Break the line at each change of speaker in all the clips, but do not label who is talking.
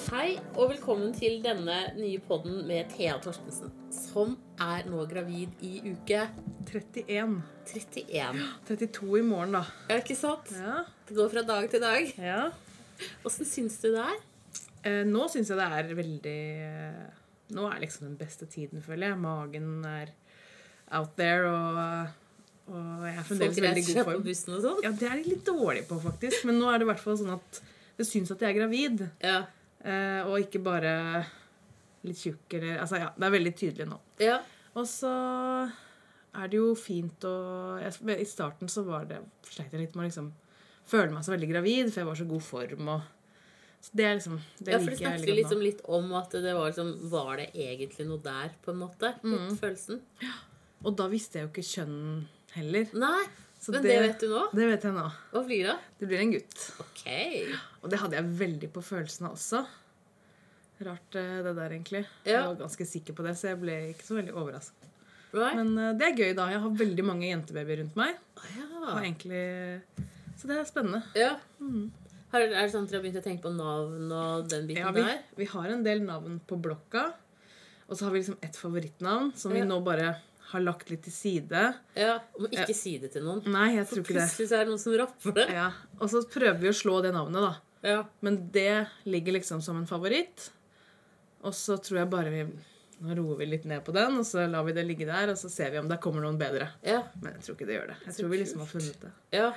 og velkommen til denne nye podden med Thea Torstensen, som er nå gravid i uke
31.
31.
32 i morgen, da.
Ja, ikke sant?
Ja.
Det går fra dag til dag.
ja.
Åssen syns du det er?
Eh, nå syns jeg det er veldig eh, Nå er liksom den beste tiden, føler jeg. Magen er out there, og, og jeg er fremdeles i veldig
reiser
god
seg på
form.
bussen og sånn?
Ja, det er jeg litt dårlig på, faktisk. Men nå er det i hvert fall sånn at det syns at jeg er gravid,
Ja.
eh, og ikke bare litt tjukk eller Altså, ja, det er veldig tydelig nå.
ja.
Og så er det jo fint å jeg, I starten så var det sleit jeg litt med å liksom føle meg så veldig gravid, for jeg var så god form og Så det er liksom Det
ja, for du
liker jeg
snakket jo
veldig godt nå.
liksom litt om at det var liksom Var det egentlig noe der, på en måte?
Mm.
Litt følelsen.
Og da visste jeg jo ikke kjønn heller.
Nei,
Så
liksom- men det,
det-
vet du nå.
Det vet jeg nå.
Hva blir det?
Det blir en gutt.
Ok.
Og det hadde jeg veldig på følelsen av også. Rart eh, det der, egentlig. Jeg
Ja.
var ganske sikker på det, så jeg ble ikke så veldig overraska.
Right?
Men eh, det er gøy, da. Jeg har veldig mange jentebabyer rundt meg. Og
ja.
egentlig Så det er spennende.
ja. Har, er det sånn at dere har begynt å tenke på navn og den biten
Mm. Ja, vi,
der?
vi har en del navn på blokka. Og så har vi liksom ett favorittnavn som
Ja.
vi nå bare har lagt litt til side.
Ja, Om
Ja.
ikke si det til noen.
Nei, jeg tror
For
ikke det.
plutselig så er det noen som rapper det.
Ja. Og så prøver vi å slå det navnet, da.
Ja.
Men det ligger liksom som en favoritt. Og så tror jeg bare vi Nå roer vi litt ned på den, og så lar vi det ligge der, og så ser vi om det kommer noen bedre.
Ja.
Men jeg tror ikke det gjør det. Jeg
Så
tror vi
kult.
liksom har funnet det.
ja.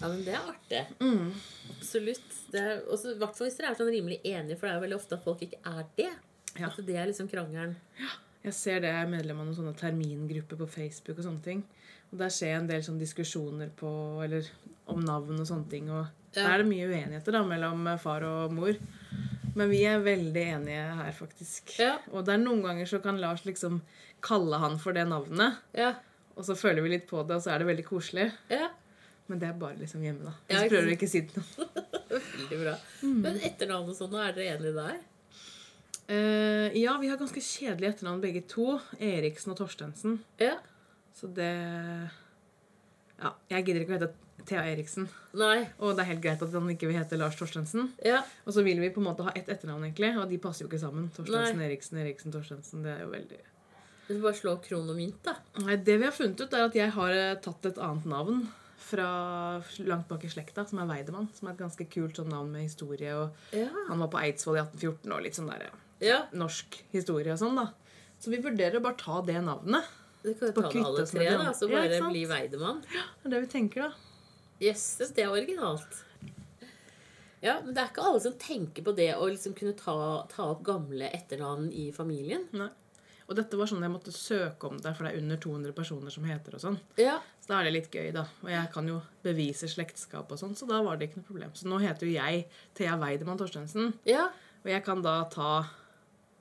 Ja, men det er artig.
Mm.
Absolutt. Det er, også, I hvert fall hvis dere er sånn rimelig enige, for det er jo veldig ofte at folk ikke er det.
Ja.
At det er liksom krangelen.
Jeg ser det jeg er medlem av noen sånne termingrupper på Facebook og sånne ting. Og der ser jeg en del sånne diskusjoner på, eller om navn og sånne ting. Og
Ja.
der er det mye uenigheter da, mellom far og mor. Men vi er veldig enige her, faktisk.
Ja.
Og det er noen ganger så kan Lars liksom kalle han for det navnet.
Ja.
Og så føler vi litt på det, og så er det veldig koselig.
ja.
Men det er bare liksom hjemme, da.
Ja,
Vi
ikke
prøver å ikke si det til noen.
Veldig bra.
Mm.
Men etternavn og sånn, nå er dere enige der?
Eh, ja, vi har ganske kjedelige etternavn begge to. Eriksen og Torstensen.
Ja.
Så det Ja, jeg gidder ikke å hete Thea Eriksen.
Nei.
Og det er helt greit at han ikke vil hete Lars Torstensen.
Ja.
Og så vil vi på en måte ha ett etternavn, egentlig, og de passer jo ikke sammen. Torstensen,
Nei.
Eriksen, Eriksen, Torstensen. Det er jo veldig
Du får bare slå kron og mynt, da.
Nei, Det vi har funnet ut, er at jeg har eh, tatt et annet navn fra langt bak i slekta, som er Weidemann. Som er et ganske kult sånn navn med historie. Og
Ja.
han var på Eidsvoll i 1814 og litt sånn der eh,
ja.
norsk historie og sånn, da. Så vi vurderer å bare ta det navnet.
Du kan jo
Bare
ta med alle
kvitte oss med
tre,
de
da. Så
andre. Ja,
bare
ikke sant?
bli Weidemann.
Det er det vi tenker, da.
Jøsses, det er originalt. Ja, men det er ikke alle som tenker på det å liksom kunne ta, ta opp gamle etternavn i familien.
Nei. Og dette var sånn jeg måtte søke om det, for det er under 200 personer som heter og sånn.
Ja,
Så da er det litt gøy, da. Og jeg kan jo bevise slektskap og sånn, så da var det ikke noe problem. Så nå heter jo jeg Thea Weidemann Torstensen,
ja,
og jeg kan da ta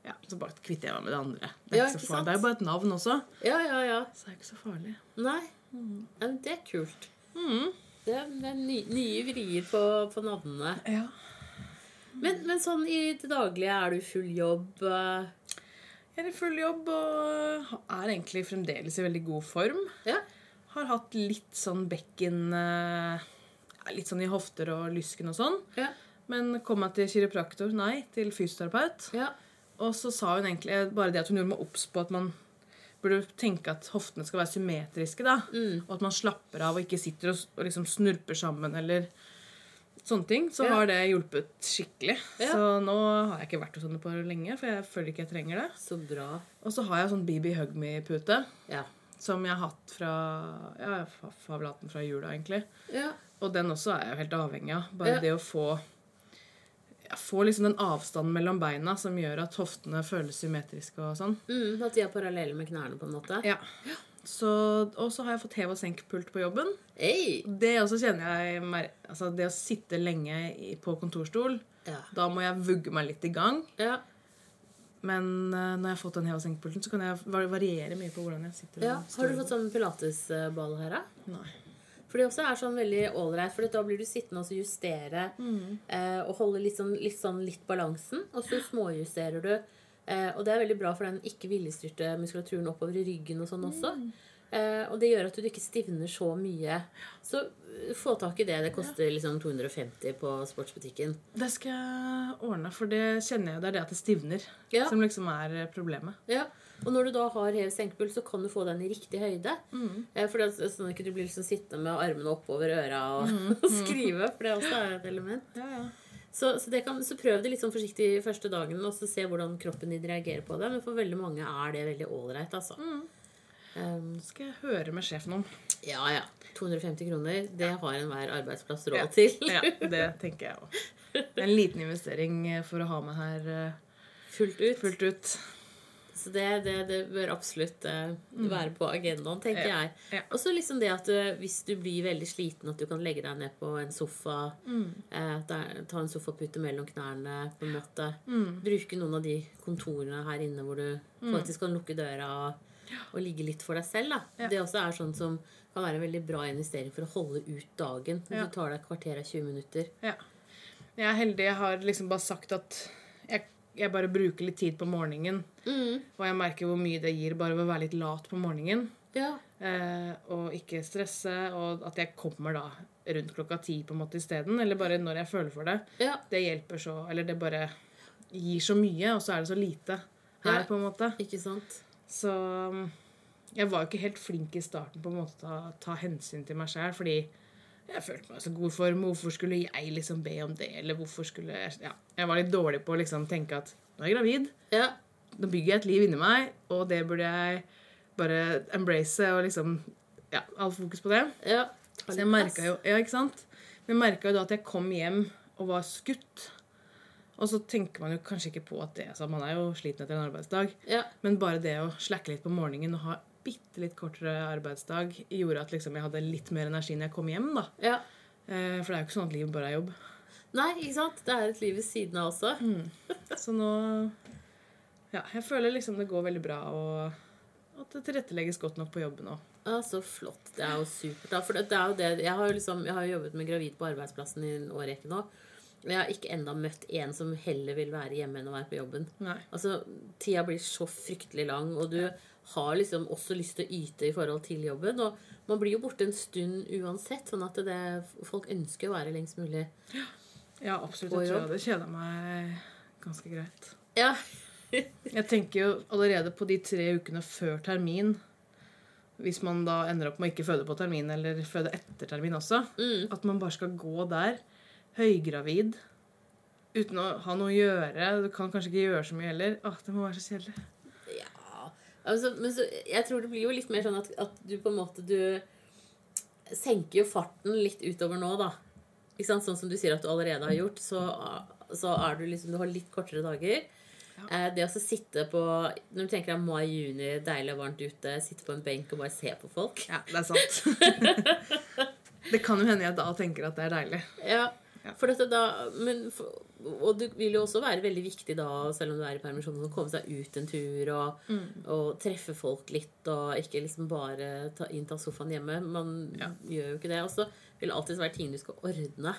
Ja, så bare kvitter jeg meg med det andre. Det er,
Ja,
ikke
ikke
så farlig.
sant?
det er jo bare et navn også,
ja, ja. ja.
så det er ikke så farlig.
Nei, ja, men det er kult. Det er, det er ny, nye vrier på, på navnene.
Ja.
Men, men sånn i det daglige, er du full jobb? eh,
Jeg er i full jobb og er egentlig fremdeles i veldig god form.
Ja,
Har hatt litt sånn bekken eh, ja, Litt sånn i hofter og lysken og sånn.
ja,
Men kom meg til kiropraktor? Nei, til fysioterapeut.
ja.
Og så sa hun egentlig bare det at hun gjorde meg obs på at man burde tenke at hoftene skal være symmetriske, da.
Mm.
Og at man slapper av og ikke sitter og, s- og liksom snurper sammen eller sånne ting. Så
Ja.
har det hjulpet skikkelig.
Ja.
Så nå har jeg ikke vært hos henne på lenge, for jeg føler ikke jeg trenger det.
Så bra.
Og så har jeg sånn BB Hug Me-pute
Ja,
som jeg har hatt fra Ja, jeg har- har vel hatt den fra jula, egentlig.
ja,
Og den også er jeg jo helt avhengig av. Bare
Ja.
det å få ja, Få liksom den avstanden mellom beina som gjør at hoftene føles symmetriske og sånn.
mm, at de er parallelle med knærne på en måte.
Ja. Så, og så har jeg fått hev- og senkpult på jobben.
Hei!
Det også kjenner jeg mer, altså Det å sitte lenge i, på kontorstol
Ja,
Da må jeg vugge meg litt i gang.
ja,
Men eh, når jeg har fått den hev- og senkpulten, så kan jeg va- variere mye på hvordan jeg sitter. og
ja. Har
står.
du fått sånn pilatesball her da?
Mm, Nei.
For det også er sånn veldig ålreit, for da blir du sittende og så justere eh, og holde litt sånn, litt sånn litt balansen, og så småjusterer du. Eh, og det er veldig bra for den ikke-viljestyrte muskulaturen oppover i ryggen og sånn også. Eh, og det gjør at du ikke stivner så mye. Så eh, få tak i det. Det koster liksom 250 på sportsbutikken.
Det skal jeg ordne, for det kjenner jeg jo. Det er det at det stivner
Ja.
som liksom er eh, problemet.
Ja. Og når du da har hev senkepuls, så kan du få den i riktig høyde. Eh, for det, er sånn at du ikke blir liksom sittende med armene oppover øra og, og skrive. For det også er et element.
Ja, ja.
Så, så, det kan, så prøv det litt sånn forsiktig første dagen, og så se hvordan kroppen din reagerer på det. Men for veldig mange er det veldig ålreit, altså. Um,
Det skal jeg høre med sjefen om.
ja ja. 250 kroner, det har enhver arbeidsplass råd
Ja.
til.
Ja, det tenker jeg òg. En liten investering eh, for å ha med her eh,
Fullt ut.
fullt ut.
Så det, det, det bør absolutt eh, være på agendaen, tenker
Mm. Ja.
jeg.
Ja.
Og så liksom det at eh, hvis du blir veldig sliten, at du kan legge deg ned på en sofa.
Mm.
eh, der, ta en sofapute mellom knærne, på en måte.
Mm.
Bruke noen av de kontorene her inne hvor du faktisk kan lukke døra og, og ligge litt for deg selv. Da.
Ja.
Det også er sånn som kan være en veldig bra investering for å holde ut dagen. Hvis
Ja.
du tar deg et kvarter av 20 minutter.
Ja. Jeg er heldig. Jeg har liksom bare sagt at jeg, jeg bare bruker litt tid på morgenen. Og jeg merker hvor mye det gir bare ved å være litt lat på morgenen.
Ja.
Eh, og ikke stresse, og at jeg kommer da rundt klokka ti på en måte isteden. Eller bare når jeg føler for det.
ja.
Det hjelper så Eller det bare gir så mye, og så er det så lite her,
Ja.
på en måte.
Ikke sant?
Så um, jeg var jo ikke helt flink i starten på en måte til å ta hensyn til meg sjøl, fordi jeg følte meg i så god form. og Hvorfor skulle jeg liksom be om det? Eller hvorfor skulle jeg ja, Jeg var litt dårlig på å liksom tenke at nå er jeg gravid,
Ja.
nå bygger jeg et liv inni meg, og det burde jeg bare embrace og liksom Ja, alt fokus på det.
ja. Ta
Så
litt
jeg merka
plass.
jo Ja, ikke sant? Men jeg merka jo da at jeg kom hjem og var skutt. Og så tenker man jo kanskje ikke på at det altså, Man er jo sliten etter en arbeidsdag.
Ja.
Men bare det å slacke litt på morgenen og ha bitte litt kortere arbeidsdag gjorde at liksom jeg hadde litt mer energi når jeg kom hjem. da.
ja.
Eh, For det er jo ikke sånn at livet bare er jobb.
Nei, ikke sant? Det er et liv ved siden av også.
Så nå Ja, jeg føler liksom det går veldig bra, og at det tilrettelegges godt nok på jobben òg.
Ja, Så flott. Det er jo supert. da. For det, det er jo det. Jeg har, jo liksom, jeg har jo jobbet med gravid på arbeidsplassen i en årrekke nå. Men jeg har ikke enda møtt en som heller vil være hjemme enn å være på jobben.
Nei.
Altså, Tida blir så fryktelig lang, og du har liksom også lyst til å yte i forhold til jobben. Og man blir jo borte en stund uansett, sånn at det, folk ønsker å være lengst mulig.
Ja, absolutt.
Og
Jeg tror jeg
jobb.
hadde kjeda meg ganske greit.
Ja,
Jeg tenker jo allerede på de tre ukene før termin Hvis man da ender opp med å ikke føde på termin, eller føde etter termin også
mm.
At man bare skal gå der, høygravid, uten å ha noe å gjøre Du kan kanskje ikke gjøre så mye heller. Åh, det må være så kjedelig.
Ja, altså, men så, jeg tror det blir jo litt mer sånn at, at du på en måte Du senker jo farten litt utover nå, da. Ikke sant? Sånn som du sier at du allerede har gjort, så, så er du liksom Du har litt kortere dager. Eh, Det å så sitte på Når du tenker deg mai-juni, deilig og varmt ute, sitte på en benk og bare se på folk
Ja, det er sant. det kan jo hende jeg da tenker at det er deilig.
Ja,
Ja.
for dette da men, for, Og det vil jo også være veldig viktig da, selv om du er i permisjon, å komme seg ut en tur og, og treffe folk litt, og ikke liksom bare ta, innta sofaen hjemme. Man
Ja.
gjør jo ikke det. Og så vil det alltid være ting du skal ordne,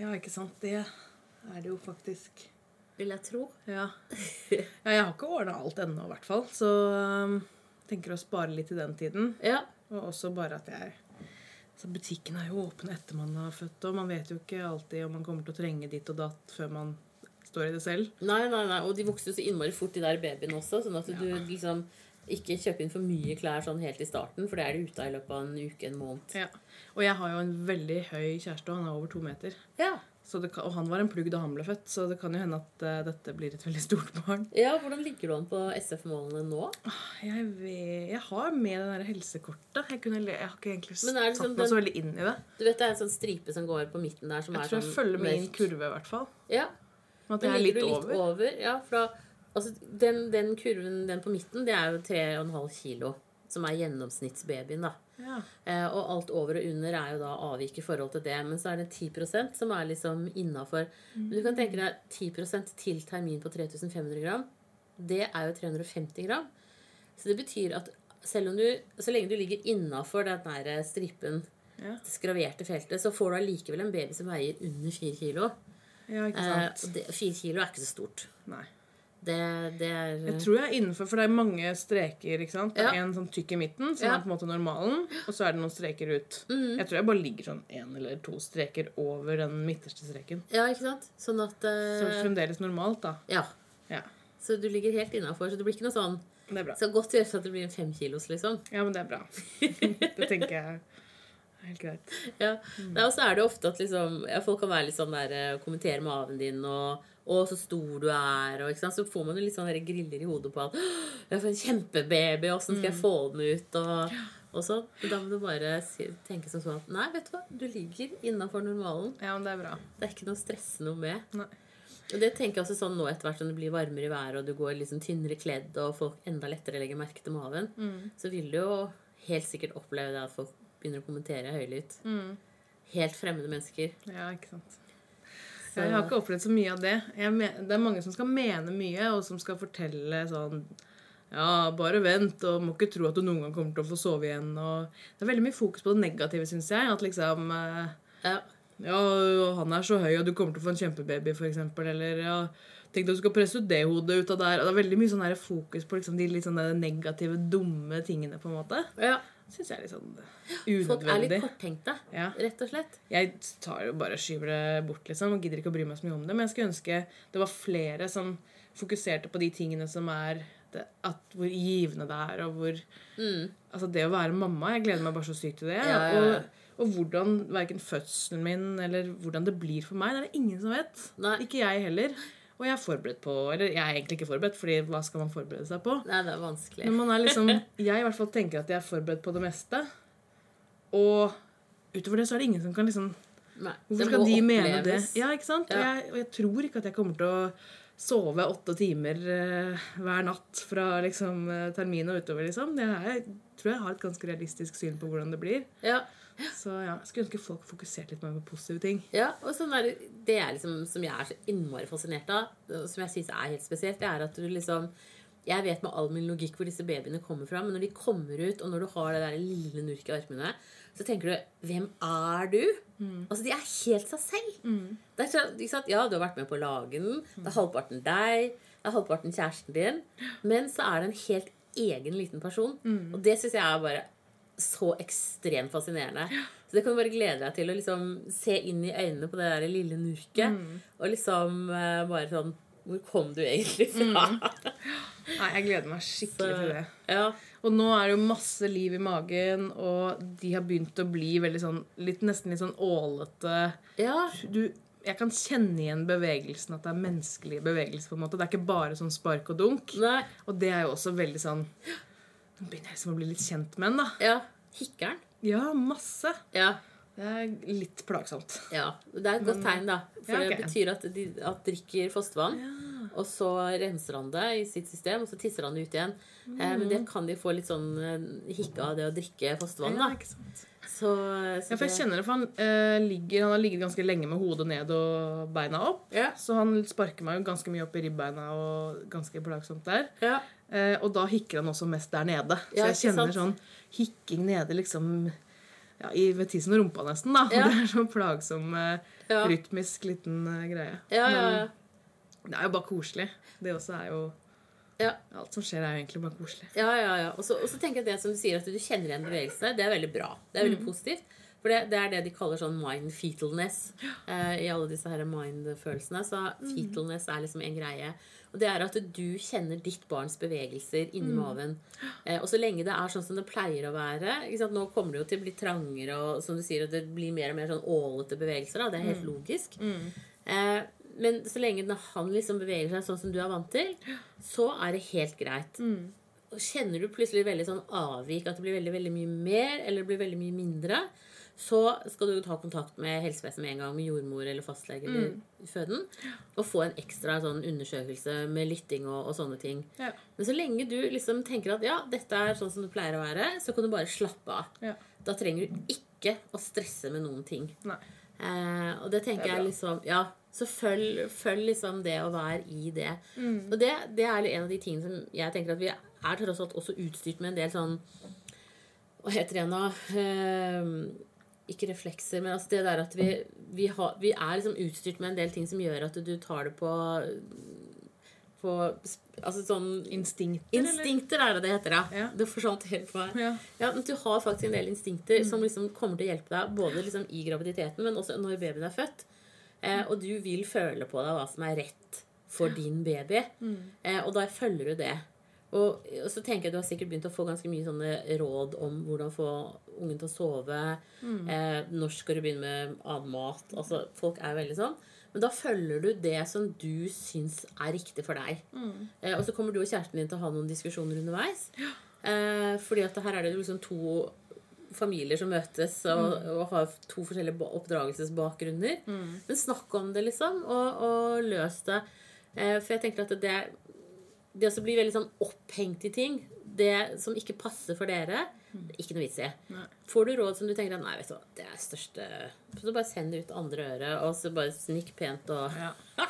Ja, ikke sant. Det er det jo faktisk.
vil jeg tro.
Ja. ja jeg har ikke ordna alt ennå, i hvert fall. Så um, tenker å spare litt i den tiden.
Ja.
Og også bare at jeg så Butikken er jo åpen etter man har født, og man vet jo ikke alltid om man kommer til å trenge ditt og datt før man står i det selv.
Nei, nei, nei. Og de vokser jo så innmari fort, de der babyene også, sånn at du liksom ikke kjøper inn for mye klær sånn helt i starten, for det er de ute av i løpet av en uke, en måned.
Og jeg har jo en veldig høy kjæreste, og han er over to meter.
Ja.
Så det kan, og han var en plugg da han ble født, så det kan jo hende at eh, dette blir et veldig stort barn.
ja, hvordan ligger du an på SF-målene nå?
Jeg, vet, jeg har med det der helsekortet. Jeg, kunne, le- jeg har ikke egentlig
Men er det
satt
sånn
meg
den-
så veldig inn i det.
Du vet det er en sånn stripe som går på midten der som
Jeg
er
tror jeg
sånn
følger med i en
mørk.
kurve, i hvert fall.
Ja,
Men at
den
jeg er
ligger
litt,
du litt
over.
over. Ja, for da, altså, den, den kurven, den på midten, det er jo 3,5 kilo. Som er gjennomsnittsbabyen, da.
Ja.
Eh, og alt over og under er jo da avvik i forhold til det. Men så er det 10 som er liksom innafor.
Mm.
Men du kan tenke deg 10 til termin på 3500 gram. Det er jo 350 gram. Så det betyr at selv om du, så lenge du ligger innafor den der stripen,
Ja.
det skraverte feltet, så får du allikevel en baby som veier under 4 kilo.
ja, ikke
Eh,
sant.
og det, 4 kilo er ikke så stort.
Nei.
Det, det er
Jeg tror jeg er innenfor, for det er mange streker. ikke sant? Det er
Ja.
En sånn tykk i midten, som
Ja.
er på en måte normalen, og så er det noen streker ut. Jeg tror jeg bare ligger sånn én eller to streker over den midterste streken.
Ja, ikke sant? Sånn at eh,
Så fremdeles normalt, da.
Ja.
Ja,
Så du ligger helt innafor. Så det blir ikke noe sånn
Det er bra.
Skal godt gjøres at det blir en femkilos, liksom.
Ja, men det er bra. Det tenker jeg er helt greit.
Ja. Nei, og så er det jo ofte at liksom, ja, folk kan være litt sånn der eh, Kommentere maven din og å, så stor du er, og ikke sant? så får man jo litt sånne der griller i hodet på at «Åh, Jeg får en kjempebaby, åssen skal jeg få den ut? Og, og sånn. Men da må du bare si, tenke som sånn at nei, vet du hva, du ligger innafor normalen.
Ja, men det er bra.
Det er ikke noe å stresse noe med.
Nei.
Og det tenker jeg også sånn nå etter hvert som det blir varmere i været, og du går liksom tynnere kledd, og folk enda lettere legger merke til maven,
Mm.
så vil du jo helt sikkert oppleve det at folk begynner å kommentere høylytt.
Mm.
Helt fremmede mennesker.
Ja, ikke sant.
Så-
Jeg har ikke opplevd så mye av det. Jeg men, det er mange som skal mene mye, og som skal fortelle sånn Ja, bare vent, og må ikke tro at du noen gang kommer til å få sove igjen. Og det er veldig mye fokus på det negative, syns jeg. At liksom eh,
Ja.
Ja, og han er så høy, og du kommer til å få en kjempebaby, f.eks. Eller ja, tenk deg du skal presse ut det hodet ut av der. Og det er veldig mye sånn her fokus på liksom de litt sånne negative, dumme tingene, på en måte.
ja.
Syns jeg er litt sånn
Folk er litt
unødvendig.
korttenkte,
Ja.
rett og slett.
Jeg tar jo bare skyver det bort, liksom, og gidder ikke å bry meg så mye om det. Men jeg skulle ønske det var flere som fokuserte på de tingene som er det, at Hvor givende det er, og hvor
Mm.
Altså, det å være mamma Jeg gleder meg bare så sykt til det.
Ja, ja, ja.
Og, og hvordan verken fødselen min eller hvordan det blir for meg, det er det ingen som vet.
Nei.
Ikke jeg heller. Og jeg er forberedt på Eller jeg er egentlig ikke forberedt, fordi hva skal man forberede seg på?
Nei, det er vanskelig.
Men man er liksom Jeg i hvert fall tenker at jeg er forberedt på det meste. Og utover det så er det ingen som kan liksom
Nei,
Hvorfor
det
skal
må
de mene det?
oppleves.
Ja, ikke sant? Og,
Ja.
jeg, og jeg tror ikke at jeg kommer til å sove åtte timer eh, hver natt fra liksom, eh, termin og utover, liksom. Det er, jeg tror jeg har et ganske realistisk syn på hvordan det blir.
Ja.
Så ja, jeg skulle ønske folk fokuserte litt mer på positive ting.
Ja, og sånn der, det er liksom, som jeg er så innmari fascinert av, og som jeg syns er helt spesielt, det er at du liksom Jeg vet med all min logikk hvor disse babyene kommer fra, men når de kommer ut, og når du har det der lille nurket i armene, så tenker du Hvem er du? Altså, de er helt seg selv. Det er så, ikke sant? Ja, du har vært med på å lage den. Det er halvparten deg. Det er halvparten kjæresten din. Men så er det en helt egen liten person. Og det syns jeg er bare så ekstremt fascinerende. Så det kan du bare glede deg til å liksom se inn i øynene på det der lille nurket. Og liksom eh, bare sånn Hvor kom du egentlig fra?
Nei, jeg gleder meg skikkelig til det.
Ja.
Og nå er det jo masse liv i magen, og de har begynt å bli veldig sånn litt, nesten litt sånn ålete.
ja.
du, jeg kan kjenne igjen bevegelsen, at det er menneskelige bevegelser. på en måte. Det er ikke bare sånn spark og dunk.
Nei.
Og det er jo også veldig sånn Nå begynner jeg liksom å bli litt kjent med den, da.
Ja. Hikkeren.
Ja, masse.
Ja.
Det er litt plagsomt.
ja. Det er et godt tegn, da. For
Ja, ok.
det betyr at de at drikker fostervann. Og så renser han det i sitt system, og så tisser han det ut igjen. Eh,
Mm.
men det kan de få litt sånn eh, hikke av det å drikke fostervann,
Ja,
Sånn, da.
ikke sant?
Så, så
Ja, for jeg kjenner det, for han, eh, ligger, han har ligget ganske lenge med hodet ned og beina opp.
Ja.
Så han sparker meg jo ganske mye opp i ribbeina og ganske plagsomt der.
Ja.
Eh, og da hikker han også mest der nede.
Ja,
så jeg
ikke
kjenner sånn
sant?
hikking nede liksom ja, i, ved tissen og rumpa nesten. da.
Ja.
Det er sånn plagsom, eh,
Ja.
rytmisk liten eh, greie.
Ja, ja, ja.
Det er jo bare koselig. Det også er jo
Ja.
Alt som skjer, er jo egentlig bare koselig.
Ja, ja, ja. Og så og så tenker jeg det som du sier, at du kjenner igjen bevegelsene, det er veldig bra. Det er veldig positivt. For det, det er det de kaller sånn mind fetalness eh, i alle disse her mind-følelsene. Så fetalness er liksom en greie. Og det er at du kjenner ditt barns bevegelser inni maven. Eh, og så lenge det er sånn som det pleier å være ikke sant? Nå kommer det jo til å bli trangere, og som du sier, at det blir mer og mer sånn ålete bevegelser. Da. Det er helt logisk. Eh, men så lenge den- han liksom beveger seg sånn som du er vant til, så er det helt greit. Og kjenner du plutselig veldig sånn avvik, at det blir veldig, veldig mye mer eller det blir veldig mye mindre, så skal du jo ta kontakt med helsevesenet med en gang, med jordmor eller fastlege eller føden, og få en ekstra sånn undersøkelse med lytting og, og sånne ting.
Ja.
Men så lenge du liksom tenker at ja, dette er sånn som det pleier å være, så kan du bare slappe av.
Ja.
Da trenger du ikke å stresse med noen ting.
Nei.
Eh, og det tenker
Det
jeg
er bra.
liksom Ja, så følg, følg liksom det å være i det.
Mm.
Og det, det er en av de tingene som jeg tenker at vi er tross alt også utstyrt med en del sånn Hva heter det nå? Eh, ikke reflekser, men altså det der at vi, vi, har, vi er liksom utstyrt med en del ting som gjør at du tar det på på sp- Altså sånn
Instinkter,
Instinkter er det det heter, ja.
Ja.
Det forsvant helt for meg.
eller? Ja.
Ja, men Du har faktisk en del instinkter som liksom kommer til å hjelpe deg både liksom i graviditeten, men også når babyen er født. Eh, og du vil føle på deg hva som er rett for din baby. Eh, og da følger du det. Og, og så tenker jeg Du har sikkert begynt å få ganske mye sånne råd om hvordan få ungen til å sove. Eh, når skal du begynne med annen mat? Altså, folk er veldig sånn. Men da følger du det som du syns er riktig for deg. Eh, og så kommer du og kjæresten din til å ha noen diskusjoner underveis. Eh, fordi at her er det liksom to familier som møtes og, og har to forskjellige ba- oppdragelsesbakgrunner. Men snakk om det, liksom, og, og løs det. Eh, for jeg tenker at det, det å bli veldig sånn opphengt i ting, det som ikke passer for dere, det er ikke noe vits i.
Nei.
Får du råd som du tenker at nei, vet du hva, det er største Så bare send det ut andre øret, og så bare snikk pent og
Ja.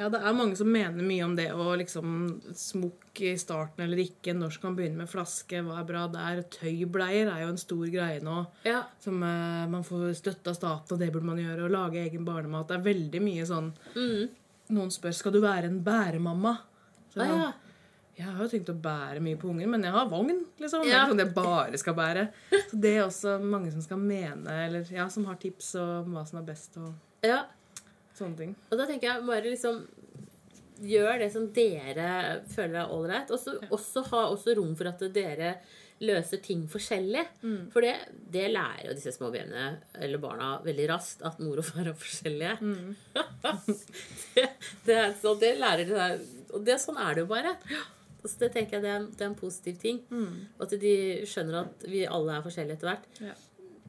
ja, det er mange som mener mye om det å liksom smokk i starten eller ikke. Når skal man begynne med flaske? Hva er bra der? Tøybleier er jo en stor greie nå.
Ja.
Som eh, man får støtte av staten, og det burde man gjøre. Og lage egen barnemat. Det er veldig mye sånn Noen spør skal du være en bæremamma. Så
Ah,
er det
ja.
sånn, Jeg har jo tenkt å bære mye på ungen, men jeg har vogn. liksom. Det er
Ja.
ikke sånn at jeg bare skal bære. Så det er også mange som skal mene, eller ja, som har tips om hva som er best, og
ja.
sånne ting.
Og da tenker jeg bare liksom Gjør det som dere føler er ålreit. Og så også ha også rom for at dere løser ting forskjellig. For det, det lærer jo disse små babyene eller barna veldig raskt, at mor og far er forskjellige. det, det, er- så det lærer de seg. Og det, sånn er det jo bare. Og så det tenker jeg det er, en- det er en positiv ting. At de skjønner at vi alle er forskjellige etter hvert.
Ja.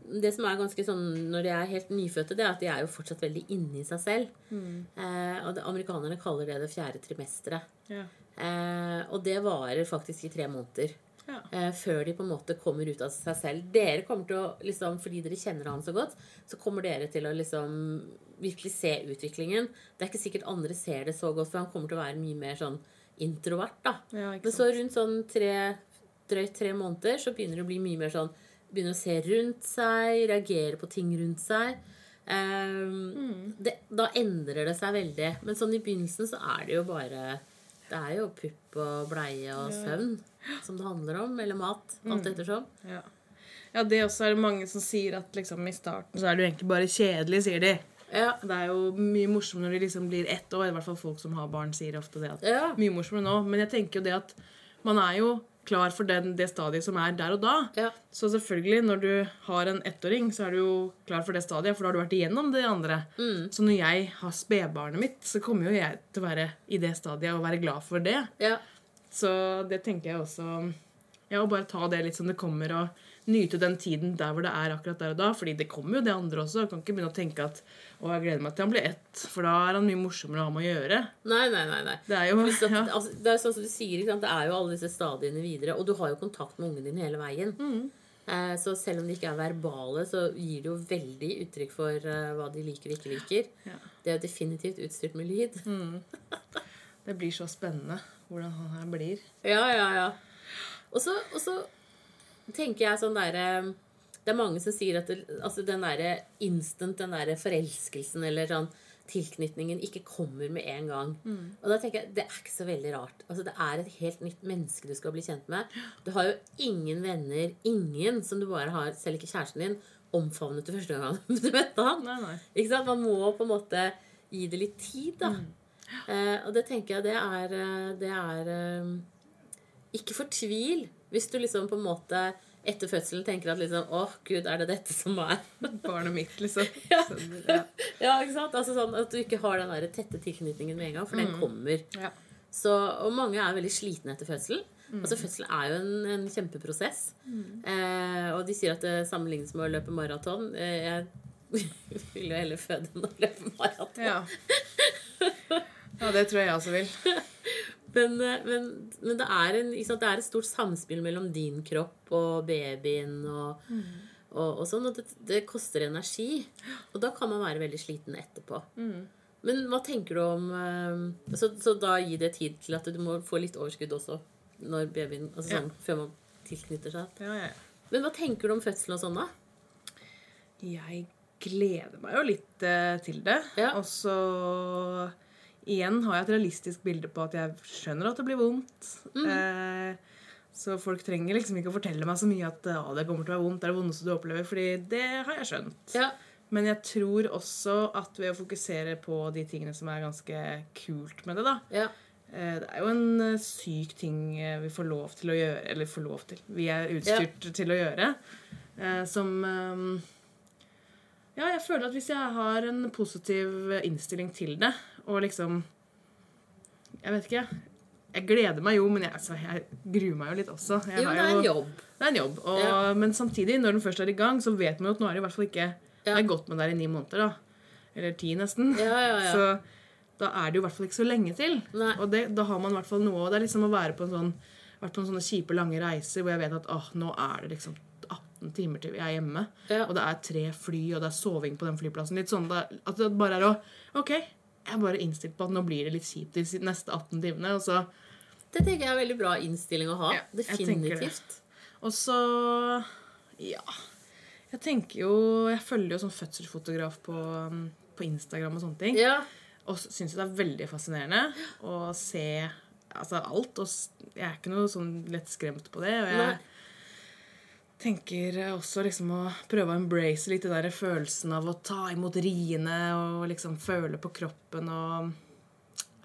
Det som er ganske sånn når de er helt nyfødte, det er at de er jo fortsatt veldig inne i seg selv. Eh, og det, amerikanerne kaller det det fjerde trimesteret.
Ja.
Eh, og det varer faktisk i tre måneder.
Ja.
Eh, før de på en måte kommer ut av seg selv. Dere kommer til å, liksom, Fordi dere kjenner han så godt, så kommer dere til å liksom virkelig se utviklingen. Det er ikke sikkert andre ser det så godt, for han kommer til å være mye mer sånn introvert. da.
Ja, ikke
Men så rundt sånn tre, drøyt tre måneder så begynner det å bli mye mer sånn Begynner å se rundt seg, reagere på ting rundt seg. Ehm, det, da endrer det seg veldig. Men sånn i begynnelsen så er det jo bare Det er jo pupp og bleie og søvn som det handler om. Eller mat. Alt ettersom.
Ja. ja, det også er det mange som sier at liksom i starten så er det jo egentlig bare kjedelig, sier de.
Ja.
Det er jo mye morsommere når de liksom blir ett år. I hvert fall folk som har barn, sier ofte det. at
Ja.
Mye morsommere nå. Men jeg tenker jo det at man er jo klar for den, det stadiet som er der og da.
Ja.
Så selvfølgelig, når du har en ettåring, så er du jo klar for det stadiet, for da har du vært igjennom det andre. Så når jeg har spedbarnet mitt, så kommer jo jeg til å være i det stadiet og være glad for det.
ja.
Så det tenker jeg også Ja, å bare ta det litt som det kommer, og nyte den tiden der hvor det er akkurat der og da. Fordi det kommer jo det andre også. Jeg kan ikke begynne å tenke at å, jeg gleder meg til han blir ett, for da er han mye morsommere å ha med å gjøre.
Nei, nei, nei. nei.
Det er jo
Pluss at,
ja.
altså, det er jo sånn som du sier, ikke sant? det er jo alle disse stadiene videre, og du har jo kontakt med ungen din hele veien.
Mm.
Eh, så selv om de ikke er verbale, så gir de jo veldig uttrykk for eh, hva de liker og ikke liker.
Ja.
Det er jo definitivt utstyrt med lyd.
Det blir så spennende hvordan han her blir.
Ja, ja, ja. Og så, og så tenker jeg sånn derre Det er mange som sier at det, altså den derre instant, den derre forelskelsen eller sånn tilknytningen ikke kommer med en gang. Og da tenker jeg, Det er ikke så veldig rart. Altså Det er et helt nytt menneske du skal bli kjent med. Du har jo ingen venner, ingen som du bare har, selv ikke kjæresten din, omfavnet du første gang du møtte han.
Nei, nei.
Ikke sant? Man må på en måte gi det litt tid, da. Eh, og det tenker jeg det er, eh, det er eh, Ikke fortvil hvis du liksom på en måte etter fødselen tenker at liksom Å, gud, er det dette som er
Barnet mitt, liksom. Så, ja.
Ja, ikke sant? Altså sånn At du ikke har den der tette tilknytningen med en gang, for den kommer.
Ja.
Så, og mange er veldig slitne etter fødselen. Altså Fødsel er jo en, en kjempeprosess. Eh, og de sier at det sammenlignes med å løpe maraton. Eh, jeg vil jo heller føde enn å løpe maraton.
Ja. ja, det tror jeg jeg også vil.
Men, eh, men, men det, er en, ikke sant? det er et stort samspill mellom din kropp og babyen og,
Mm.
og, og sånn. Og det, det koster energi. Og da kan man være veldig sliten etterpå.
Mm.
Men hva tenker du om eh, så, så da gi det tid til at du må få litt overskudd også når babyen altså
Ja.
sånn, Før man tilknytter seg.
Ja, ja.
Men hva tenker du om fødsel og sånn, da?
Jeg gleder meg jo litt eh, til det.
Ja.
Og så igjen har jeg et realistisk bilde på at jeg skjønner at det blir vondt. Eh, så folk trenger liksom ikke å fortelle meg så mye at ah, det kommer til å være vondt. Det er det vondeste du opplever. Fordi det har jeg skjønt.
Ja.
Men jeg tror også at ved å fokusere på de tingene som er ganske kult med det, da
ja.
Eh, Det er jo en eh, syk ting eh, vi får lov til å gjøre Eller får lov til. Vi er utstyrt til å gjøre. eh, Som eh, Ja, jeg føler at hvis jeg har en positiv eh, innstilling til det, og liksom Jeg vet ikke. Jeg gleder meg jo, men jeg, altså, jeg gruer meg jo litt også. Jeg
Jo,
har
det er en jobb.
det er en jobb. Og,
Ja.
Men samtidig, når den først er i gang, så vet man jo at nå er det i hvert fall ikke Det
Ja.
er godt med det er i ni måneder, da. Eller ti, nesten.
Ja, ja, ja.
Så da er det jo i hvert fall ikke så lenge til.
Nei.
Og det, da har man i hvert fall noe. Og det er liksom å være på en sånn vært på en sånne kjipe, lange reiser hvor jeg vet at åh, nå er det liksom 18 timer til vi er hjemme.
Ja.
Og det er tre fly, og det er soving på den flyplassen. Litt sånn da- at det bare er å OK, jeg er bare innstilt på at nå blir det litt kjipt de neste 18 timene. Og så
Det tenker jeg er en veldig bra innstilling å ha.
Ja, jeg tenker det.
Definitivt.
Og så Ja. Jeg tenker jo Jeg følger jo sånn fødselsfotograf på, um, på Instagram og sånne ting.
Ja.
Og syns jo det er veldig fascinerende å se altså alt. Og s- jeg er ikke noe sånn lettskremt på det. Og jeg
Nei.
tenker også liksom å prøve å embrace litt den der følelsen av å ta imot riene og liksom føle på kroppen og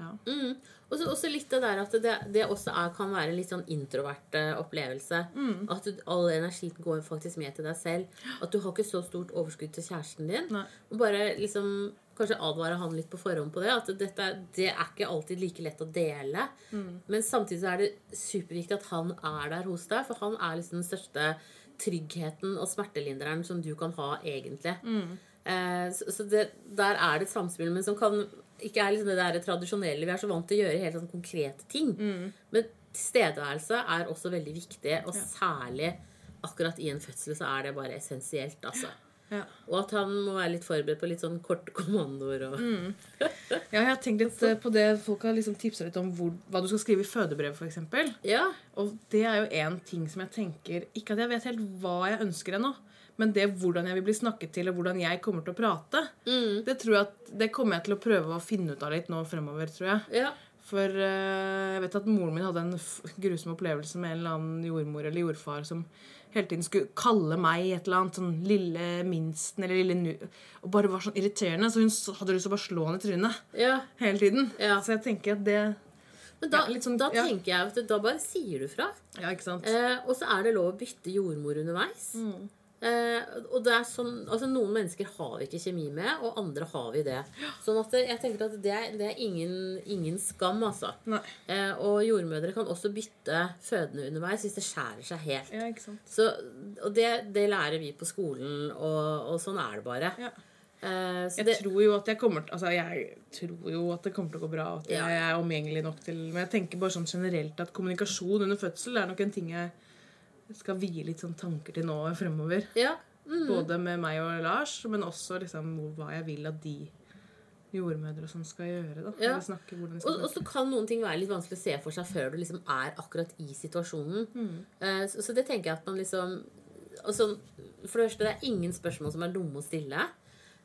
Ja.
Mm. Og så også litt det der at det, det også er, kan være en litt sånn introvert eh, opplevelse. At du, all energien går faktisk med til deg selv. At du har ikke så stort overskudd til kjæresten din.
Nei.
Og bare liksom Kanskje advare han litt på forhånd på det. At dette, er- det er ikke alltid like lett å dele. Men samtidig så er det superviktig at han er der hos deg. For han er liksom den største tryggheten og smertelinderen som du kan ha, egentlig.
Mm.
Eh, så så det, der er det et samspill, men som kan ikke er liksom det der tradisjonelle. Vi er så vant til å gjøre helt sånn konkrete ting.
Mm.
Men tilstedeværelse er også veldig viktig, og særlig akkurat i en fødsel så er det bare essensielt, altså.
ja.
Og at han må være litt forberedt på litt sånn korte kommandoer og
Mm. Ja, jeg har tenkt litt eh, på det. Folk har liksom tipsa litt om hvor, hva du skal skrive i fødebrevet, f.eks.
Ja.
Og det er jo én ting som jeg tenker Ikke at jeg vet helt hva jeg ønsker ennå, men det hvordan jeg vil bli snakket til, og hvordan jeg kommer til å prate, det tror jeg at det kommer jeg til å prøve å finne ut av litt nå fremover, tror jeg.
Ja.
For eh, jeg vet at moren min hadde en f- grusom opplevelse med en eller annen jordmor eller jordfar som hele tiden skulle kalle meg et eller annet sånn lille minsten eller lille nu... Og bare var sånn irriterende, så hun s- hadde lyst til å bare slå henne i trynet
ja.
hele tiden.
Ja.
Så jeg tenker at det
Men da,
Ja, litt sånn-
da
ja.
tenker jeg at da bare sier du fra.
Ja, ikke sant?
Eh, og så er det lov å bytte jordmor underveis.
Mm.
Eh, og det er sånn, altså Noen mennesker har vi ikke kjemi med, og andre har vi det. Sånn at det, jeg tenker at det, er- det er ingen, ingen skam, altså.
Nei.
Eh, og jordmødre kan også bytte fødende underveis hvis det skjærer seg helt.
Ja, ikke sant?
Så, og det, det lærer vi på skolen, og, og sånn er det bare.
Ja.
Eh, så
Jeg
det,
tror jo at jeg kommer til Altså, jeg tror jo at det kommer til å gå bra, og at
Ja.
jeg er omgjengelig nok til Men jeg tenker bare sånn generelt at kommunikasjon under fødsel er nok en ting jeg skal vie litt sånn tanker til nå og fremover.
ja, mm,
Både med meg og Lars, men også liksom hva jeg vil at de jordmødre og sånn skal gjøre, da.
Ja.
Eller snakke hvordan de skal
og, og så kan noen ting være litt vanskelig å se for seg før du liksom er akkurat i situasjonen. Eh, så, så det tenker jeg at man liksom og sånn, For det første, det er ingen spørsmål som er dumme å stille.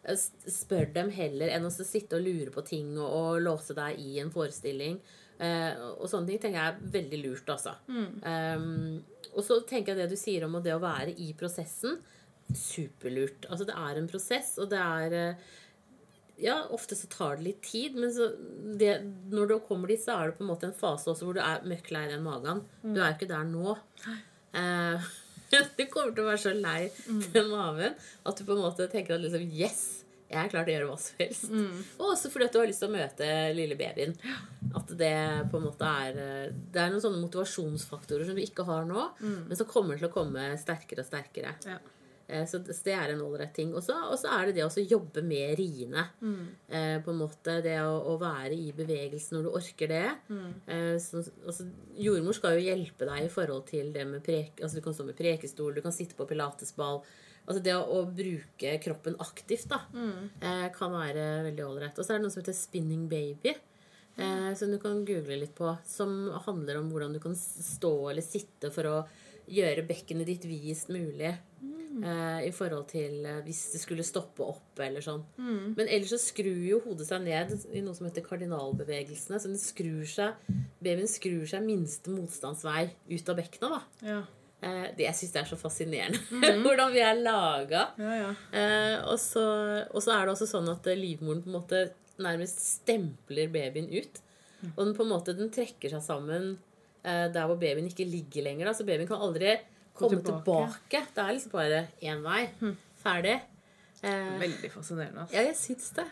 Eh, s- Spør dem heller enn å så sitte og lure på ting og, og låse deg i en forestilling. Eh, og sånne ting tenker jeg er veldig lurt, altså. Eh, og så tenker jeg det du sier om det å være i prosessen. Superlurt. Altså, det er en prosess, og det er eh, ja, ofte så tar det litt tid, men så det, når du kommer dit, så er det på en måte en fase også hvor du er møkk lei den magen. Du er jo ikke der nå. Eh, du kommer til å være så lei den magen at du på en måte tenker at liksom Yes! Jeg er klar til å gjøre hva som helst. Og også fordi at du har lyst til å møte lille babyen. At det på en måte er eh, Det er noen sånne motivasjonsfaktorer som du ikke har nå, men som kommer til å komme sterkere og sterkere.
Ja.
Eh, Så det så det er en ålreit ting. Og så og så er det det å også jobbe med riene. Eh, på en måte Det å, å være i bevegelse når du orker det. Eh, så, altså, jordmor skal jo hjelpe deg i forhold til det med prek, altså, Du kan stå med prekestol, du kan sitte på pilatesball. Altså Det å, å bruke kroppen aktivt da eh, kan være veldig ålreit. Og så er det noe som heter spinning baby. Eh, som du kan google litt på. Som handler om hvordan du kan s- stå eller sitte for å gjøre bekkenet ditt videst mulig. eh, i forhold til eh, hvis det skulle stoppe opp eller sånn. Men ellers så skrur jo hodet seg ned i noe som heter kardinalbevegelsene. Så den skrur seg, babyen skrur seg minste motstandsvei ut av bekkenet, da.
Ja.
Eh, det, jeg syns det er så fascinerende hvordan vi er laga.
Ja, ja.
Eh, og, så, og så er det også sånn at eh, livmoren på en måte nærmest stempler babyen ut. Og den på en måte den trekker seg sammen eh, der hvor babyen ikke ligger lenger. Da. Så babyen kan aldri komme tilbake.
tilbake.
Det er liksom bare én vei. Ferdig. Eh,
Veldig fascinerende. Altså.
ja, jeg syns det.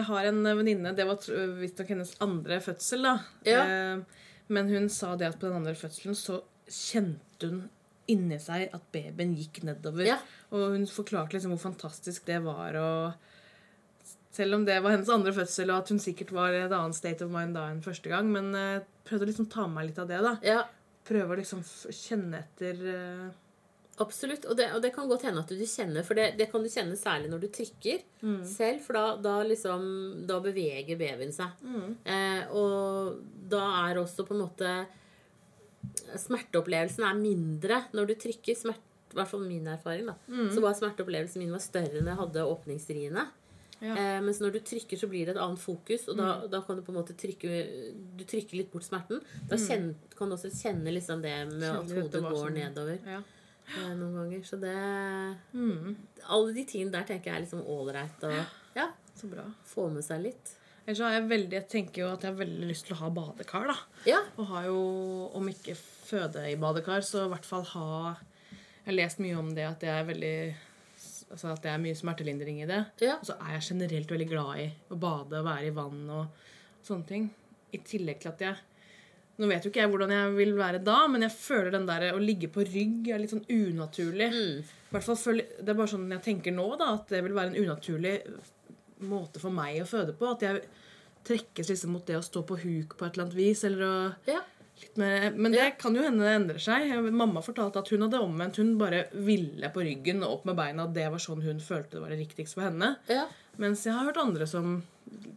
Jeg har en eh, venninne Det var tr- visstnok hennes andre fødsel, da.
Ja.
Eh, men hun sa det at på den andre fødselen så kjente hun inni seg at babyen gikk nedover.
Ja.
Og hun forklarte liksom hvor fantastisk det var og Selv om det var hennes andre fødsel, og at hun sikkert var i et annet state of mind da enn første gang, men eh, prøvde å liksom ta med meg litt av det, da.
Ja,
Prøve å liksom f kjenne etter eh,
absolutt. Og det, og det kan godt hende at du kjenner, for det, det kan du kjenne særlig når du trykker selv, for da, da liksom Da beveger babyen seg. Eh, og da er også på en måte Smerteopplevelsen er mindre når du trykker. Smert, I hvert fall min erfaring. da
Mm.
Så var smerteopplevelsen min var større enn jeg hadde åpningsriene.
Ja. Mm.
Eh, mens når du trykker, så blir det et annet fokus, og da, da kan du på en måte trykke Du trykker litt bort smerten. Da
Mm.
kjenn- kan du også kjenne liksom det med
Kjenne
at
at det
hodet
var
går
sånn.
nedover
Ja. Mm.
eh, noen ganger. Så det Alle de tingene der tenker jeg er liksom ålreit å ja,
Så bra.
få med seg litt.
Ellers så har jeg veldig Jeg tenker jo at jeg har veldig lyst til å ha badekar, da.
Ja.
Og har jo, om ikke føde i badekar, så i hvert fall ha Jeg har lest mye om det at det er veldig Altså at det er mye smertelindring i det.
Ja.
Og så er jeg generelt veldig glad i å bade og være i vann og sånne ting. I tillegg til at jeg Nå vet jo ikke jeg hvordan jeg vil være da, men jeg føler den der å ligge på rygg er litt sånn unaturlig. I hvert fall føler, Det er bare sånn jeg tenker nå, da, at det vil være en unaturlig måte for meg å føde på. At jeg trekkes liksom mot det å stå på huk på et eller annet vis, eller å
ja.
Litt mer, men det kan jo hende det endrer seg. Mamma fortalte at hun hadde omvendt. Hun bare ville på ryggen og opp med beina. Det var sånn hun følte det var det riktigste for henne.
ja.
Mens jeg har hørt andre som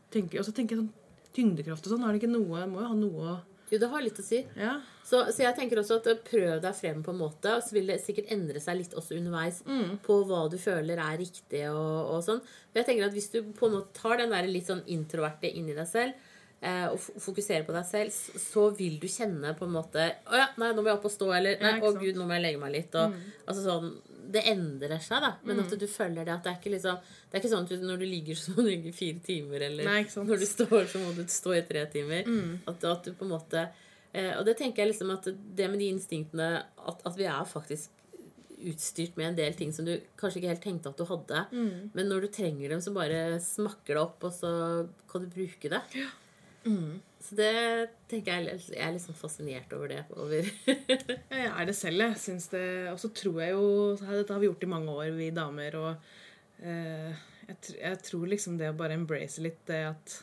tenker Og så tenker jeg sånn tyngdekraft og sånn. Er det ikke noe Må jo ha noe å
Jo, det har litt å si.
Ja.
Så, så jeg tenker også at eh, prøv deg frem på en måte, og så vil det sikkert endre seg litt også underveis
Mm.
på hva du føler er riktig og, og sånn. Men jeg tenker at hvis du på en måte tar den der litt sånn introverte inn i deg selv, eh, og f- fokuserer på deg selv, s- så vil du kjenne på en måte Å ja, nei, nå må jeg opp og stå, eller Nei,
Ja, ikke
å
sant. Mm.
gud, nå må jeg legge meg litt, og altså sånn Det endrer seg, da, men at du følger det. At det er ikke liksom Det er ikke sånn at du, når du ligger, så må du ligge i fire timer, eller
Nei, ikke sant.
når du står, så må du stå i tre timer. At, at du på en måte eh, Og det tenker jeg liksom at det med de instinktene At, at vi er faktisk utstyrt med en del ting som du kanskje ikke helt tenkte at du hadde.
Mm.
Men når du trenger dem, så bare smakker det opp, og så kan du bruke det. Så det tenker jeg Jeg er liksom fascinert over det. Over
Jeg er det selv, jeg. Syns det Og så tror jeg jo Dette har vi gjort i mange år, vi damer, og eh, jeg, tr jeg tror liksom det å bare embrace litt det at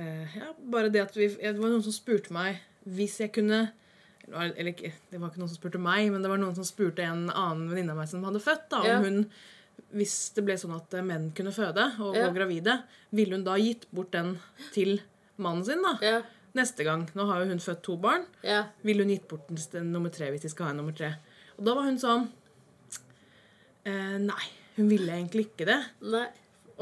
eh, Ja, bare det at vi Det var noen som spurte meg hvis jeg kunne det var- Eller ikke, det var ikke noen som spurte meg, men det var noen som spurte en annen venninne av meg som hadde født, da, om
Ja.
hun hvis det ble sånn at eh, menn kunne føde og
Ja.
var gravide, ville hun da gitt bort den til mannen sin da?
Ja.
neste gang? Nå har jo hun født to barn.
ja.
Ville hun gitt bort den til nummer tre hvis de skal ha en nummer tre? Og da var hun sånn eh, Nei, hun ville egentlig ikke det.
Nei.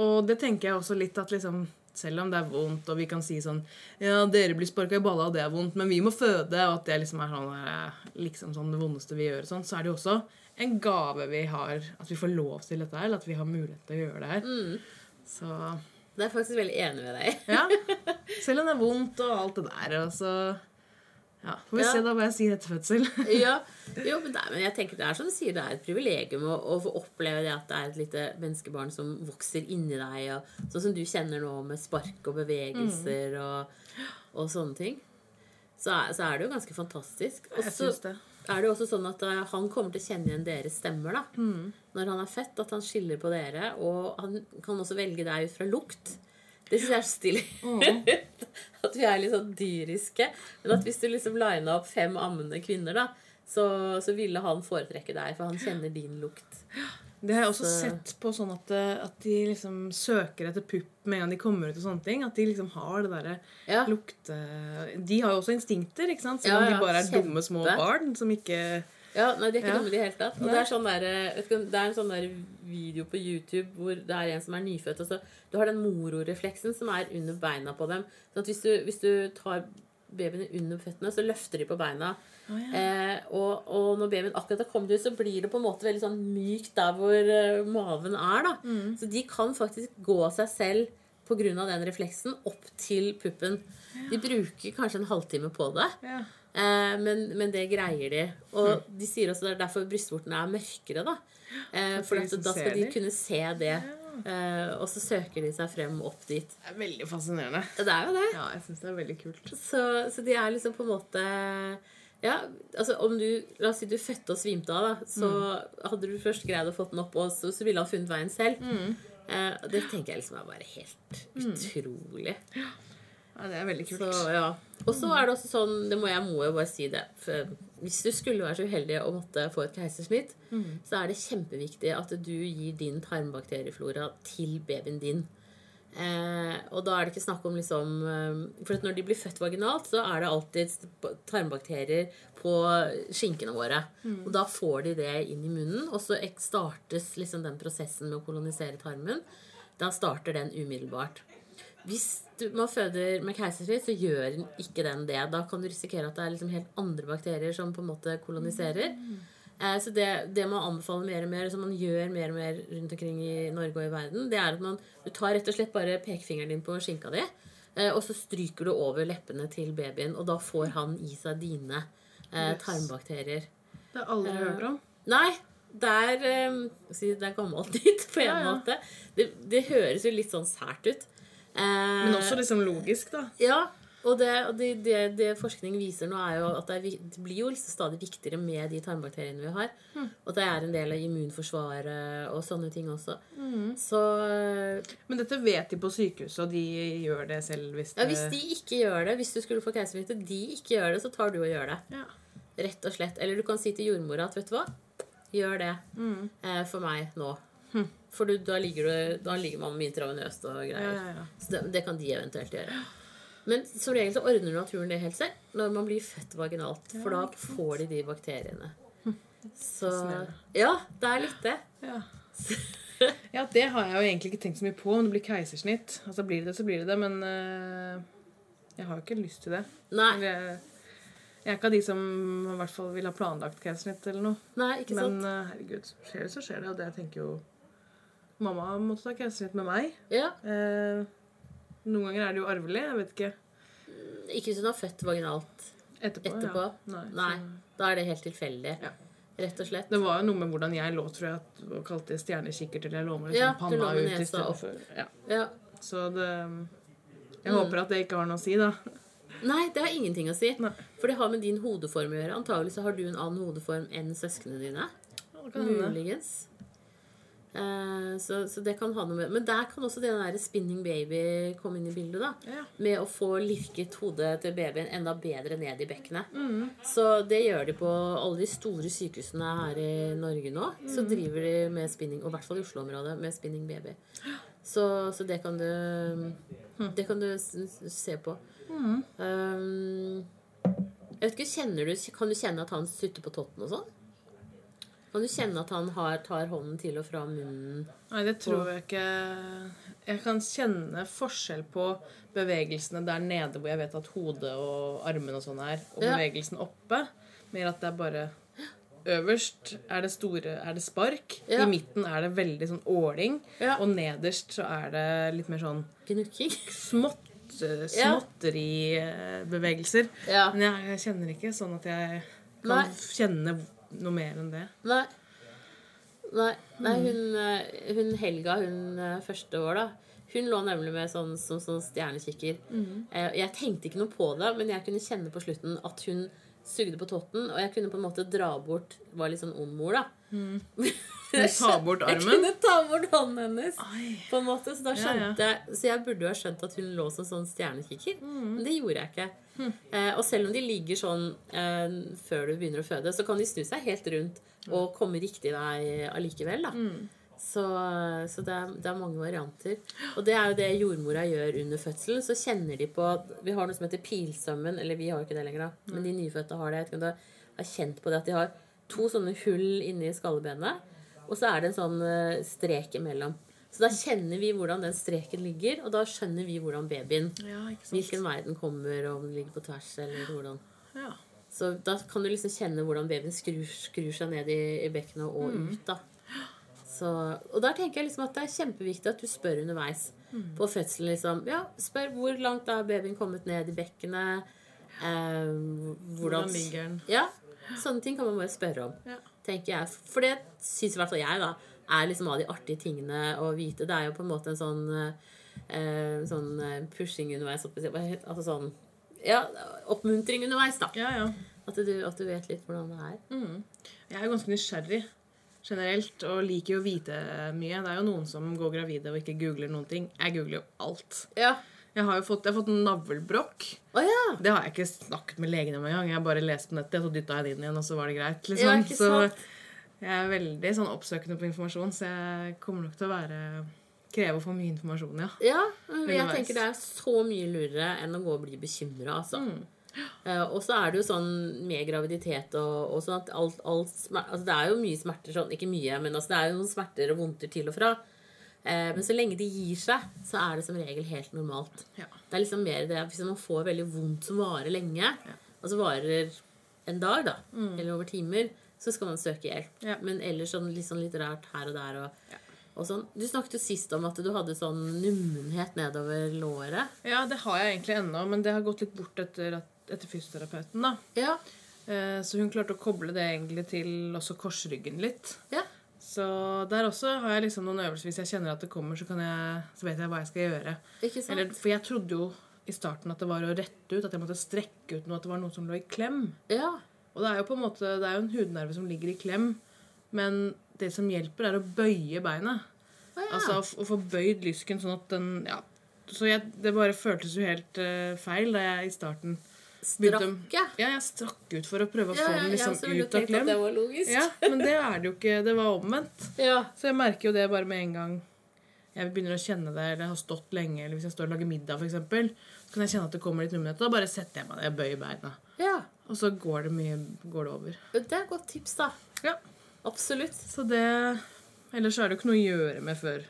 Og det tenker jeg også litt at liksom selv om det er vondt, og vi kan si sånn Ja, dere blir sparka i balla, og det er vondt, men vi må føde, og at det liksom er sånn, eh, liksom sånn det vondeste vi gjør, og sånn, så er det jo også en gave vi har, at vi får lov til dette her, eller at vi har mulighet til å gjøre det her. Så
Det er jeg faktisk veldig enig med deg i.
ja. Selv om det er vondt og alt det der, og så Ja. Får vi
Ja.
se da hva jeg sier etter fødsel.
ja, jo, men, det er, men jeg tenker det er som du sier, det er et privilegium å, å få oppleve det at det er et lite menneskebarn som vokser inni deg, og sånn som du kjenner nå med spark og bevegelser og, og sånne ting. Så er, så er det jo ganske fantastisk. Og
Jeg
så
syns det.
er det jo også sånn at eh, han kommer til å kjenne igjen deres stemmer da. når han er født, at han skiller på dere. Og han kan også velge deg ut fra lukt. Det syns jeg er så stilig. at vi er litt sånn dyriske. Men at hvis du liksom lina opp fem ammende kvinner, da, så, så ville han foretrekke deg, for han kjenner din lukt.
Det har jeg også
Så-
sett på sånn at, eh, at de liksom søker etter pupp med en gang de kommer ut og sånne ting. At de liksom har det derre
Ja.
lukte... De har jo også instinkter, ikke sant? Selv om
Ja, ja,
de bare er
kjempe.
dumme små barn som ikke
Ja, nei, de er ikke
Ja.
dumme i det hele tatt. Og
Nei.
det er, sånn der, eh, vet ikke, om- det er en sånn der video på YouTube hvor det er en som er nyfødt, og så du har den mororefleksen som er under beina på dem. Sånn at hvis du, hvis du tar babyene under føttene, så løfter de på beina. Eh, og, og når babyen akkurat har kommet ut, så blir det på en måte veldig sånn mykt der hvor eh, maven er. da.
Mm.
Så de kan faktisk gå av seg selv pga. den refleksen opp til puppen. De bruker kanskje en halvtime på det.
Ja.
Eh, men, men det greier de. Og de sier også det er derfor brystvortene er mørkere. da. Eh, for
de
at,
som
da
ser
skal de
de.
kunne se det. Eh, og så søker de seg frem opp dit.
Det er veldig fascinerende.
Ja, Det er jo det.
Ja, jeg syns det er veldig kult.
Så, så de er liksom på en måte ja, altså om du, La oss si du fødte og svimte av, da. Så
Mm.
hadde du først greid å få den opp, og så, så ville han funnet veien selv.
Mm.
Eh, og det tenker jeg liksom er bare helt utrolig.
Ja, det er veldig kult.
Så, ja. Og så er det også sånn det må Jeg må jo bare si det. For hvis du skulle være så uheldig å måtte få et keisersnitt, så er det kjempeviktig at du gir din tarmbakterieflora til babyen din. Eh, og da er det ikke snakk om liksom eh, For at når de blir født vaginalt, så er det alltid tarmbakterier på skinkene våre. Og da får de det inn i munnen, og så ek- startes liksom den prosessen med å kolonisere tarmen. Da starter den umiddelbart. Hvis du, man føder med keisersnitt, så gjør den ikke den det. Da kan du risikere at det er liksom helt andre bakterier som på en måte koloniserer. Eh, så det, det man anbefaler mer og mer, som man gjør mer og mer rundt omkring i Norge og i verden, det er at man, du tar rett og slett bare pekefingeren din på skinka di, eh, og så stryker du over leppene til babyen, og da får han i seg dine eh,
Yes.
tarmbakterier.
Det har jeg aldri
Ja.
hørt om.
Nei, det er, eh, si, det er gammelt nytt på en
Ja, ja.
måte. Det, det høres jo litt sånn sært ut. Eh,
Men også liksom logisk, da.
ja, og det, og det, det, det forskning viser nå, er jo at det, er, vi- det blir jo liksom stadig viktigere med de tarmbakteriene vi har. Og det er en del av immunforsvaret og sånne ting også. Så
Men dette vet de på sykehuset, og de gjør det selv hvis
ja, hvis de ikke gjør det, hvis du skulle få keisersnitt, og de ikke gjør det, så tar du og gjør det.
Ja.
Rett og slett. Eller du kan si til jordmora at vet du hva, gjør det eh, for meg nå. For du, da, ligger du, da ligger man med intravenøst og greier.
Ja, ja, ja.
Så det, det kan de eventuelt gjøre. Men som regel så ordner naturen det helt selv når man blir født vaginalt. For da får de de bakteriene.
Hm.
Så
Fascinerende.
Ja, det er litt det.
Ja. ja, det har jeg jo egentlig ikke tenkt så mye på om det blir keisersnitt. Altså blir det det, så blir det det, men eh, jeg har jo ikke lyst til det.
Nei,
Eller Jeg, jeg er ikke av de som i hvert fall vil ha planlagt keisersnitt eller noe.
nei ikke
Men
sant?
eh, herregud, skjer det, så skjer det. Og det jeg tenker jo Mamma måtte ta keisersnitt med meg.
Ja,
Eh, noen ganger er det jo arvelig. Jeg vet ikke.
Ikke hvis hun har født vaginalt
Etterpå.
etterpå.
Ja. Nei,
Nei,
så-
da er det helt tilfeldig.
Ja.
Rett og slett.
Det var jo noe med hvordan jeg lå, tror jeg, at, og kalte det stjernekikker til jeg lå med liksom,
Ja, du
panna
lå med
ut
nesa
istedenfor. Ja.
Ja.
Så det Jeg håper at det ikke har noe å si, da.
Nei, det har ingenting å si.
Nei.
For det har med din hodeform å gjøre. Antagelig så har du en annen hodeform enn søsknene dine.
Det kan hende.
Muligens. Eh, så, så det kan ha noe med Men der kan også den der spinning baby komme inn i bildet. da
Ja.
Med å få lirket hodet til babyen enda bedre ned i bekkenet. Så det gjør de på alle de store sykehusene her i Norge nå. Så driver de med spinning, og i hvert fall i Oslo-området, med spinning baby. Så, så det kan du Det kan du s- s- se på. Um, jeg vet ikke, kjenner du, Kan du kjenne at han sutter på totten og sånn? Kan du kjenne at han har, tar hånden til og fra munnen?
Nei, det tror jeg ikke Jeg kan kjenne forskjell på bevegelsene der nede hvor jeg vet at hodet og armene og sånn er, og
Ja.
bevegelsen oppe. Mer at det er bare Øverst er det store er det spark.
Ja.
I midten er det veldig sånn åling.
Ja.
Og nederst så er det litt mer sånn
Gnukking?
smått, eh,
Ja.
småtteribevegelser.
Ja.
Men jeg, jeg kjenner ikke sånn at jeg
Nei.
kan kjenne noe mer enn det.
Nei. Nei, Nei hun, eh, hun Helga, hun eh, første år, da. Hun lå nemlig med sånn, sånn, sånn stjernekikker. Eh, og Jeg tenkte ikke noe på det, men jeg kunne kjenne på slutten at hun sugde på totten. Og jeg kunne på en måte dra bort Var litt sånn ond mor, da.
Kunne ta bort
Jeg
armen.
kunne ta bort hånden hennes. På en måte, Så da
Ja, ja.
skjønte jeg Så jeg burde jo ha skjønt at hun lå som sånn stjernekikker.
Mm.
Men det gjorde jeg ikke.
Hm.
Eh, og selv om de ligger sånn eh, før du begynner å føde, så kan de snu seg helt rundt og komme riktig vei allikevel. da
Mm.
Så, så det, er, det er mange varianter. Og det er jo det jordmora gjør under fødselen. Så kjenner de på Vi har noe som heter pilsømmen. Eller vi har jo ikke det lenger, da. Men de nyfødte har det. Jeg vet ikke om du har kjent på det at de har to sånne hull inni skallebenet, og så er det en sånn eh, strek imellom. Så da kjenner vi hvordan den streken ligger, og da skjønner vi hvordan babyen
Ja, ikke sant.
Hvilken vei den kommer, og om den ligger på tvers, eller hvordan.
Ja.
Så da kan du liksom kjenne hvordan babyen skrur, skrur seg ned i, i bekkenet og
Mm.
ut, da. Så, og der tenker jeg liksom at det er kjempeviktig at du spør underveis
Mm.
på fødselen. liksom, ja, Spør hvor langt er babyen kommet ned i bekkenet? Eh, hvordan
Hvordan ligger den?
Ja, Sånne ting kan man bare spørre om.
Ja.
tenker jeg. For det syns i hvert fall jeg da, er liksom av de artige tingene å vite. Det er jo på en måte en sånn, eh, sånn eh, pushing underveis. holdt på å si. Hva het- Altså sånn Ja, oppmuntring underveis, da.
ja, ja.
At du, at du vet litt hvordan det er.
Jeg er jo ganske nysgjerrig generelt, og liker jo å vite mye. Det er jo noen som går gravide og ikke googler noen ting. Jeg googler jo alt.
Ja.
Jeg har jo fått, jeg har fått navlebrokk.
Å ja!
Det har jeg ikke snakket med legen om engang. Jeg har bare lest på nettet, og så dytta jeg det inn igjen, og så var det greit.
Ja,
Liksom.
ikke sant?
så jeg er veldig sånn oppsøkende på informasjon, så jeg kommer nok til å være kreve å få mye informasjon, ja.
Ja, men jeg
Underveis.
tenker det er så mye lurere enn å gå og bli bekymra, altså.
Mm.
Eh, og så er det jo sånn med graviditet og, og sånn at alt, alt smer- altså Det er jo mye smerter sånn, ikke mye, men altså det er jo noen smerter og vondter til og fra. Eh, men så lenge de gir seg, så er det som regel helt normalt.
Ja.
Det er liksom mer det at hvis man får veldig vondt som varer lenge, altså varer en dag, da, eller over timer, så skal man søke hjelp.
Mm. Ja.
Men ellers sånn, litt, sånn litt rart her og der og, og sånn. Du snakket jo sist om at du hadde sånn nummenhet nedover låret.
Ja, det har jeg egentlig ennå, men det har gått litt bort etter, at- etter fysioterapeuten, da.
Ja.
Eh, Så hun klarte å koble det egentlig til også korsryggen litt.
Ja.
Så der også har jeg liksom noen øvelser. Hvis jeg kjenner at det kommer, så, kan jeg, så vet jeg hva jeg skal gjøre.
Ikke sant?
Eller, for jeg trodde jo i starten at det var å rette ut, at jeg måtte strekke ut noe, at det var noe som lå i klem.
ja.
Og det er jo på en måte, det er jo en hudnerve som ligger i klem, men det som hjelper er å bøye
Å
beinet.
ja.
Altså å, f- å få bøyd lysken sånn at den, ja. Så jeg, det bare føltes jo helt eh, feil da jeg i starten begynte å-
Strakke.
Ja, jeg strakk ut for å prøve å
Ja,
få
ja,
den
jeg
liksom
også ville
ut av
tenkt at
klem.
det var logisk.
Ja, men det er det jo ikke. Det var omvendt.
Ja.
Så jeg merker jo det bare med en gang jeg begynner å kjenne det, eller har stått lenge, eller hvis jeg står og lager middag, f.eks., så kan jeg kjenne at det kommer litt nummenhet. og Da bare setter jeg meg ned og bøyer beina.
ja.
Og så går det mye går det over.
Jo, Det er et godt tips, da.
Ja,
Absolutt.
Så det Ellers så er det jo ikke noe å gjøre med før.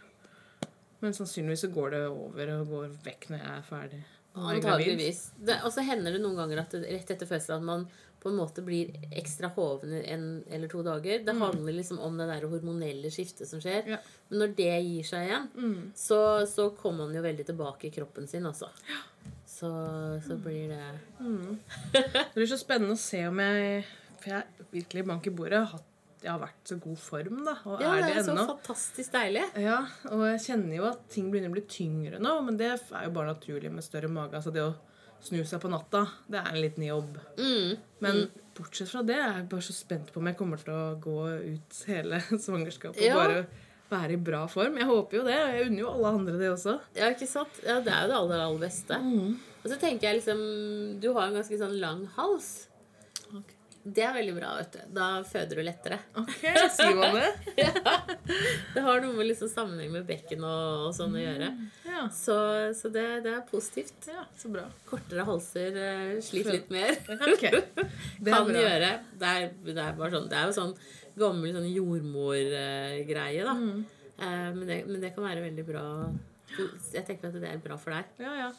Men sannsynligvis så går det over og går vekk når jeg er ferdig. og er gravid.
Antageligvis. Det- Og så hender det noen ganger at det, rett etter fødselen at man på en måte blir ekstra hoven en eller to dager. Det handler liksom om det der hormonelle skiftet som skjer.
Ja.
Men når det gir seg igjen,
Mm.
så, så kommer man jo veldig tilbake i kroppen sin, altså. Så, så blir det
Det blir så spennende å se om jeg For jeg er virkelig bank i bordet. Jeg har, hatt, jeg har vært i så god form, da. Og
Ja,
er
det er
det
så
ennå.
fantastisk deilig.
Ja, og jeg kjenner jo at ting begynner å bli tyngre nå, men det er jo bare naturlig med større mage. Altså det å snu seg på natta, det er en liten jobb.
Mm.
Men bortsett fra det er jeg bare så spent på om jeg kommer til å gå ut hele svangerskapet
Ja.
og bare være i bra form. Jeg håper jo det, og jeg unner jo alle andre det også. Mm.
Ja, ikke sant? Ja, det er jo det aller, aller beste. Og så tenker jeg liksom Du har en ganske sånn lang hals.
Ok.
Det er veldig bra, vet du. Da føder du lettere.
Ok, sier man det?
Det har noe med liksom sammenheng med bekken og, og sånn
Mm.
å gjøre.
Ja,
Så, så det, det er positivt.
ja så bra.
Kortere halser eh, sliter litt mer.
Ok, det
Kan
er bra.
gjøre. Det er, det er bare sånn Det er jo sånn gammel sånn jordmorgreie, da.
Mm.
Eh, men, det, men det kan være veldig bra. Jeg tenker at det er bra for deg.
Ja, ja.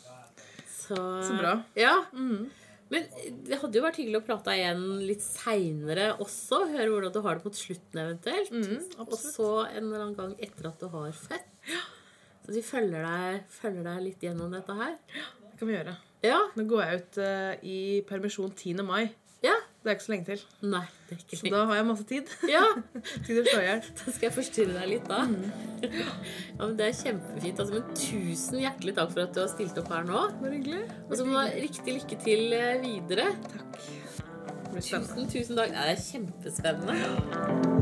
Så,
Så bra. Mm.
Ja. Men det hadde jo vært hyggelig å prate igjen litt seinere også. Høre hvordan du har det mot slutten eventuelt. og
Mm, absolutt.
så en eller annen gang etter at du har født. Så de følger deg, følger deg litt gjennom dette her.
Det kan vi gjøre.
Ja.
Nå går jeg ut eh, i permisjon 10. mai.
ja.
Det er ikke så lenge til.
Nei, det er ikke
Så
lenge.
da har jeg masse tid.
Ja,
Tid til å slå i hjel.
da skal jeg forstyrre deg litt da. Ja, men Det er kjempefint. Altså, men tusen hjertelig takk for at du har stilt opp her nå.
Bare hyggelig.
Og så må du ha riktig lykke til eh, videre.
Takk. Det blir spennende.
Tusen, tusen takk. Nei, Det er kjempespennende.